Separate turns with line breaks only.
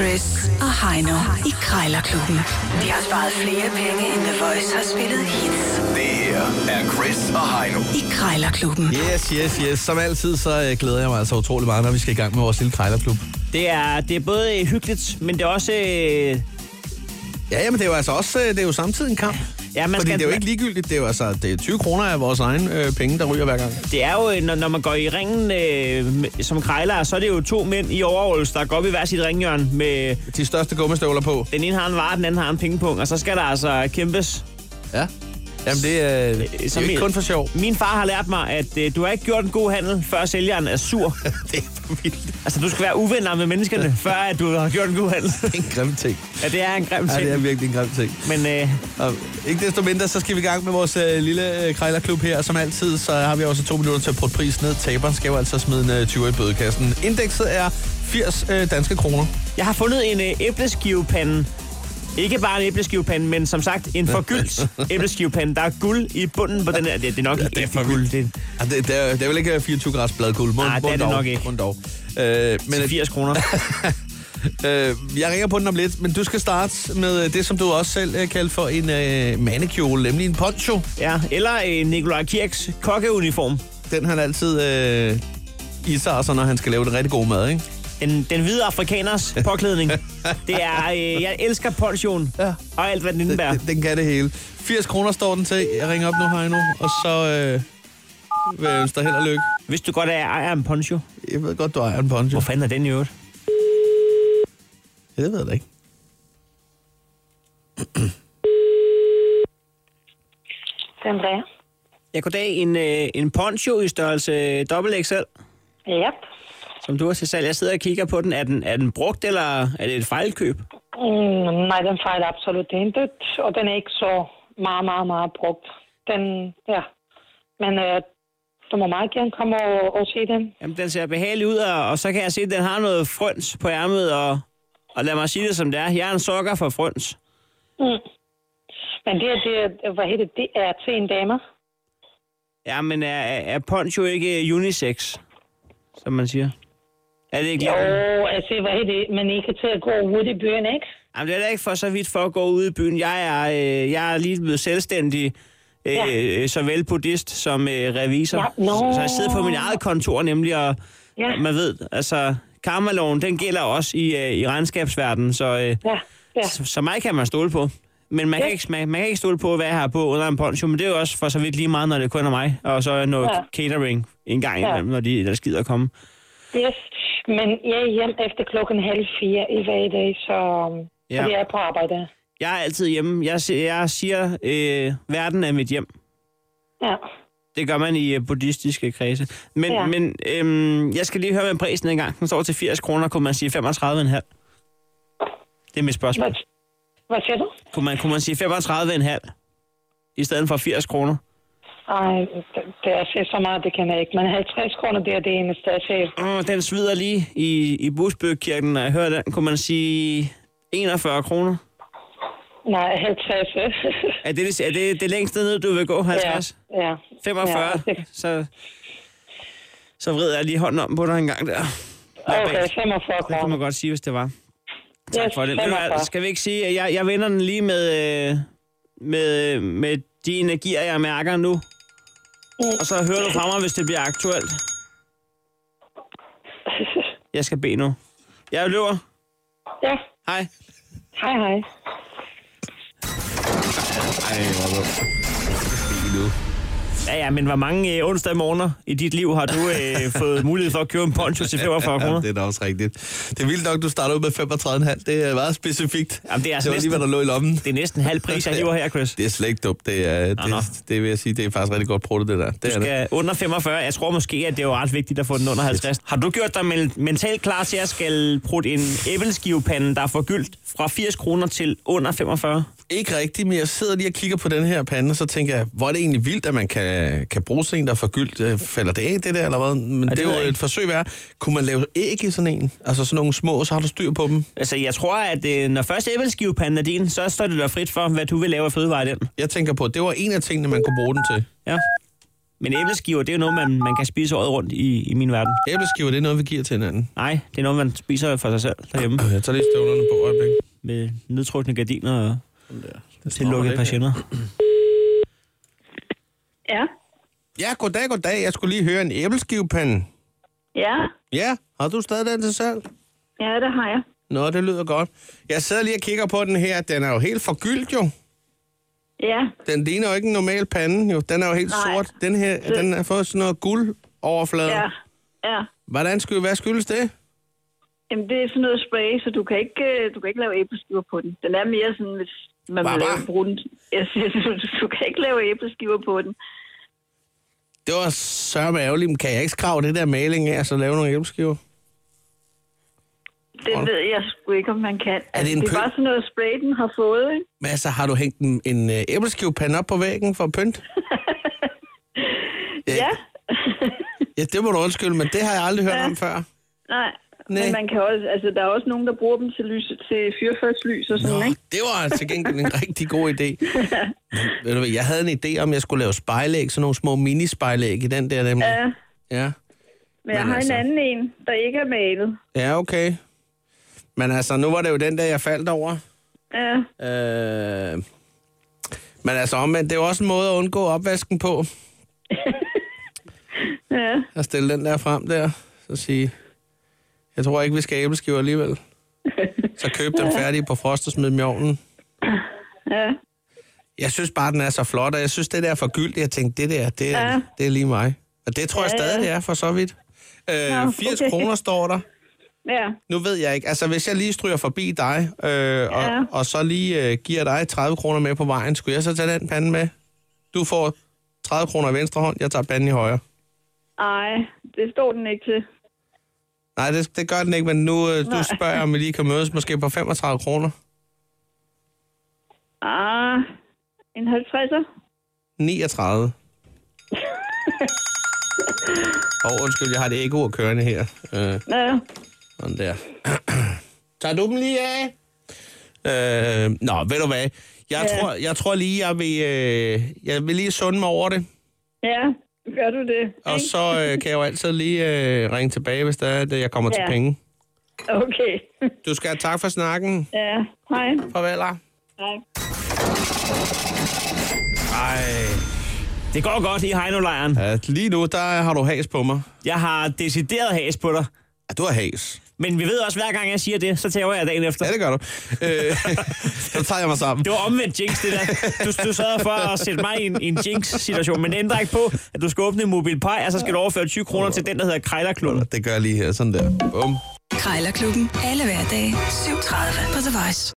Chris og Heino i Krejlerklubben. De har sparet flere penge, end The Voice har spillet hits
Det her er Chris og Heino.
i Krejlerklubben.
Yes, yes, yes. Som altid, så øh, glæder jeg mig altså utrolig meget, når vi skal i gang med vores lille krejlerklub.
Det er, det er både øh, hyggeligt, men det er også... Øh,
Ja, jamen det er jo altså også, øh, det er jo samtidig en kamp.
Ja, man
Fordi
skal-
det er jo ikke ligegyldigt, det er jo altså, det er 20 kroner af vores egen øh, penge, der ryger hver gang.
det er jo, øh, når, når man går i ringen øh, med- som krejler, så er det jo to mænd i overholds, der går op i hver sit ringhjørne. Med,
De største gummistøvler på.
den ene har en vare, den anden har en pengepung, og så skal der altså kæmpes.
Ja. Jamen det, øh, det er
som
jo
i-
ikke kun for sjov.
Min far har lært mig, at øh, du har ikke gjort en god handel, før sælgeren er sur.
det er for vildt.
altså, du skal være uvenner med menneskerne, før at du har gjort en god handel.
Det er en grim ting.
ja, det er en grim
Ja,
ting.
det er virkelig en grim ting.
Men øh,
Og ikke desto mindre, så skal vi i gang med vores øh, lille øh, krejlerklub her. Som altid, så har vi også to minutter til at putte prisen ned. Taberen skal jo altså smide en øh, 20 i bødekassen. Indekset er 80 øh, danske kroner.
jeg har fundet en øh, æbleskivepande. Ikke bare en æbleskivepande, men som sagt en forgyldt æbleskivepande. Der er guld i bunden på den her. Det, det er nok ja,
det er
ikke
for
guld.
vildt.
Det er
Ja, det, det, er, det er vel ikke 24 grads bladguld. Må,
Nej, det
må
er det
dog,
nok ikke.
Må dog. Øh, men
til 80 kroner.
øh, jeg ringer på den om lidt, men du skal starte med øh, det, som du også selv øh, kaldte for en øh, mandekjole, nemlig en poncho.
Ja, eller øh, Nikolaj Kirks kokkeuniform.
Den han altid øh, isar sig, når han skal lave det rigtig gode mad, ikke?
Den, den hvide afrikaners påklædning. Det er, øh, jeg elsker ponchoen
Ja.
ja. og alt, hvad den indebærer.
Den, den kan det hele. 80 kroner står den til. Jeg ringer op nu, Heino, og så øh, vil jeg ønske dig held og lykke.
Hvis du godt er ejer en poncho,
Jeg ved godt, du ejer en poncho.
hvor fanden er den i øvrigt?
Ja, det ved jeg da ikke.
Det er Andrea.
Jeg kunne dag en, øh, en poncho i størrelse øh, dobbelt XL,
Yep.
som du har til salg. Jeg sidder og kigger på den. Er den, er den brugt, eller er det et fejlkøb?
Mm, nej, den fejler absolut intet, og den er ikke så meget, meget, meget brugt. Den, ja. Men øh, du må meget gerne komme og, og se den.
Jamen, den ser behagelig ud, og, og så kan jeg se, at den har noget frøns på ærmet, og, og lad mig sige det, som det er. Jeg er en sokker for frøns.
Men det, er- det, er- hvad hedder det, det er til en dame.
Jamen, er, er er poncho ikke unisex, som man siger? Er det ikke
Jo,
løgn?
altså, hvad hedder det, men I kan til at gå ud i byen, ikke?
Jamen, det er da ikke for så vidt for at gå ud i byen. Jeg er, øh, jeg er lige blevet selvstændig, øh,
Ja.
ja. såvel buddhist som øh, revisor.
Ja,
Så-
nå.
Så jeg sidder på min eget kontor nemlig, og
Ja.
ja. man ved, altså, karmaloven, den gælder også i, øh, i regnskabsverdenen, så, øh,
Ja, ja.
så, så mig kan man stole på. Men man, ja. kan
Ja.
ikke, man, man kan ikke stole på, hvad jeg har på under en poncho, men det er jo også for så vidt lige meget, når det kun er mig, og så noget
Ja.
ja. catering en gang
Ja.
imellem, når de der skider at komme.
Yes. Men jeg er hjem efter klokken halv fire i hver dag, så,
Ja.
ja. så vi er på arbejde.
Jeg er altid hjemme. Jeg, si- jeg siger, øh, verden er mit hjem.
Ja.
Det gør man i øh, buddhistiske kredse. Men, ja.
Ja.
men øhm, jeg skal lige høre med prisen en gang. Den står til 80 kroner, kunne man sige 35,5? Det er mit spørgsmål.
Hvad, hvad siger du?
Kunne man, kunne man sige 35,5 i stedet for 80 kroner?
Ej, det- det er så- så meget, det kan jeg ikke. Men 50 kroner, det er det eneste, jeg ser.
Oh, den svider lige i, i Busbøgkirken, når jeg hører den. Kunne man sige 41 kroner?
Nej, 50.
Er det det, er det det længste ned, du vil gå? 50? Ja.
ja.
45? Ja.
Ja.
Så, så vrider jeg lige hånden om på dig en gang der.
Okay, 45
Det kan man
kroner.
godt sige, hvis det var. Tak
Yes,
for det. Ved du hvad,
45.
Skal vi ikke sige, at jeg, jeg vender den lige med, øh, med, med de energier, jeg mærker nu? Og så hører du fra mig, hvis det bliver aktuelt. Jeg skal bede nu. Jeg løber.
Ja,
Hej.
hej hej.
Ja, ja, men hvor mange øh, onsdag morgener i dit liv har du øh, fået mulighed for at købe en poncho til 45
Ja,
kroner?
det er da også rigtigt. Det er vildt nok, du starter ud med 35,5. Det er meget specifikt.
Jamen, det er altså
det var lige,
næsten-
hvad der lå i lommen.
Det er næsten halv pris, jeg hiver her, Chris.
Det er slet ikke dumt. Det, er,
Nå, nå.
det, det vil jeg sige, det er faktisk rigtig godt prøvet, det der. Det er det.
Skal under 45, jeg tror måske, at det er jo ret vigtigt at få den under 50. Har du gjort dig men- mentalt klar til at skal prutte en æbleskivepande, der er forgyldt fra 80 kroner til under 45?
Ikke rigtigt, men jeg sidder lige og kigger på den her pande, og så tænker jeg, hvor er det egentlig vildt, at man kan, kan bruge sådan en, der er forgyldt. Øh, Falder det af, det der, eller hvad? Men det,
det
det
ved
er
jeg
jo et
ikke.
forsøg værd. Kunne man lave æg i sådan en? Altså sådan nogle små, og så har du styr på dem.
Altså, jeg tror, at øh, når først æbleskivepanden er din, så står det dig frit for, hvad du vil lave af fødevarer i den.
Jeg tænker på, at det var en af tingene, man kunne bruge den til.
Ja. Men æbleskiver, det er jo noget, man, man kan spise året rundt i, i min verden.
Æbleskiver, det er noget, vi giver til hinanden.
Nej, det er noget, man spiser for sig selv derhjemme
Øh, Jeg tager lige støvlerne på øjeblik.
med nedtrukne gardiner og tillukkede
lidt, ja.
patienter.
Ja,
Ja, goddag, goddag. Jeg skulle lige høre en æbleskivepande.
ja,
Ja, har du stadig den til salg?
ja, det har jeg.
Nå, det lyder godt. Jeg sidder lige og kigger på den her. Den er jo helt forgyldt jo.
Ja,
Den ligner jo ikke en normal pande jo. Den er jo helt
Nej.
sort. Den her, den har fået sådan noget guld overflade.
ja, ja.
Hvordan sky, hvad skyldes det?
Jamen, det er sådan noget spray, så du kan ikke, øh, du kan ikke lave æbleskiver på den. Den er mere sådan, hvis man
Hva,
vil
hva?
lave bruge den. Jeg siger, du, du kan ikke lave æbleskiver på den.
Det var sørme ærgerligt. Men Kan jeg ikke skrave det der maling af, og så lave nogle æbleskiver?
Det
Tror du?
ved jeg sgu ikke, om man kan. Altså,
Er det en
det er
pøl?
bare sådan noget spray, den har fået, ikke?
Men altså, har du hængt en, en øh, æbleskivepande op på væggen for pynt?
Ja. ja.
Ja, det må du undskylde, men det har jeg aldrig hørt ja. om før.
Nej.
Nej.
Men man kan også, altså, der er også nogen, der bruger dem til, lys, til fyrfærdslys og sådan,
Nå,
Nå. ikke?
det var til gengæld en rigtig god idé. Men, ved du hvad, jeg havde en idé om, jeg skulle lave spejlæg, sådan nogle små minispejlæg i den der nemlig.
Ja.
Ja.
Men jeg
Men
har
altså-
en anden en, der ikke er malet.
ja, okay. Men altså, nu var det jo den der, jeg faldt over.
Ja,
Øh... Men altså omvendt, det er jo også en måde at undgå opvasken på.
ja.
At stille den der frem der, så sige, jeg tror ikke, vi skal æbleskiver alligevel. Så køb dem færdige på frost og smid dem i ovnen.
ja.
Jeg synes bare, den er så flot, og jeg synes, det der er for gyldt. Jeg tænkte, det der, det, ja.
Ja.
det er lige mig. Og det tror jeg
Ja,
stadig,
ja.
det er for så vidt. Øh,
Nå,
80
okay.
kroner står der.
Ja,
Nu ved jeg ikke. Altså, hvis jeg lige stryger forbi dig, øh, og,
Ja.
og så lige øh, giver dig 30 kroner med på vejen, skulle jeg så tage den pande med? Du får 30 kroner i venstre hånd, jeg tager panden i højre.
ej, det står den ikke til.
Nej, det, det gør den ikke, men nu øh, du
Nej.
spørger, om vi lige kan mødes måske på 35 kroner.
Ah, en 50'er?
39. Og oh, undskyld, jeg har det ekko kørende her. Øh.
Ja,
Sådan der. Tager du dem lige af? Øh, nå, ved du hvad? Jeg, ja.
Ja.
tror, jeg tror lige, jeg vil, øh, jeg vil lige sunde mig over det.
ja, gør du det?
Og
ikke?
så øh, kan jeg jo altid lige øh, ringe tilbage, hvis der er, at jeg kommer ja.
Ja.
til penge.
Okay,
Du skal have tak for snakken.
ja, hej.
Farvel. ah.
hej.
Ej.
Det går godt i Heino-lejren.
Ja, lige nu, der har du has på mig.
Jeg har decideret has på dig.
Ja, du har has.
Men vi ved også, hver gang jeg siger det, så tager jeg dagen efter.
Ja, det gør du. Øh, så tager jeg mig sammen.
Det var omvendt jinx, det der. Du, du sad for at sætte mig i en, i en jinx-situation, men det ændrer ikke på, at du skal åbne en mobilpej, og så skal du overføre 20 kroner til den, der hedder Krejlerklubben.
Det gør jeg lige her. Sådan der. Bum.
Krejlerklubben. Alle hverdage. 7.30 på The Voice.